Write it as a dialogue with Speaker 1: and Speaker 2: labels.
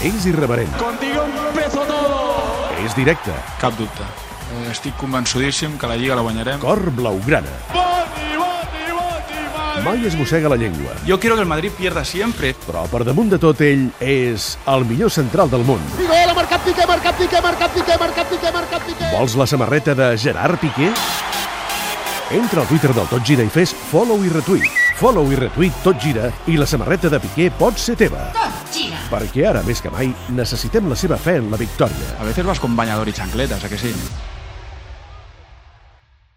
Speaker 1: És irreverent,
Speaker 2: Contigo empezó todo.
Speaker 1: és directe,
Speaker 3: Cap dubte. Eh, Estic convençudíssim que la Lliga la guanyarem.
Speaker 1: cor blaugrana.
Speaker 2: Boni, boni, boni, Madrid.
Speaker 1: Mai es mossega la llengua,
Speaker 3: Jo quiero que el Madrid pierda siempre.
Speaker 1: però per damunt de tot ell és el millor central del món.
Speaker 4: I gol, ha marcat Piqué, ha marcat Piqué, ha marcat Piqué, ha marcat Piqué, ha marcat Piqué.
Speaker 1: Vols la samarreta de Gerard Piqué? Entra al Twitter del Tot Gira i fes follow i retweet. Follow i retweet Tot Gira i la samarreta de Piqué pot ser teva.
Speaker 5: Tot gira.
Speaker 1: Perquè ara, més que mai, necessitem la seva fe en la victòria.
Speaker 3: A veces vas con bañador i xancletes, a que sí?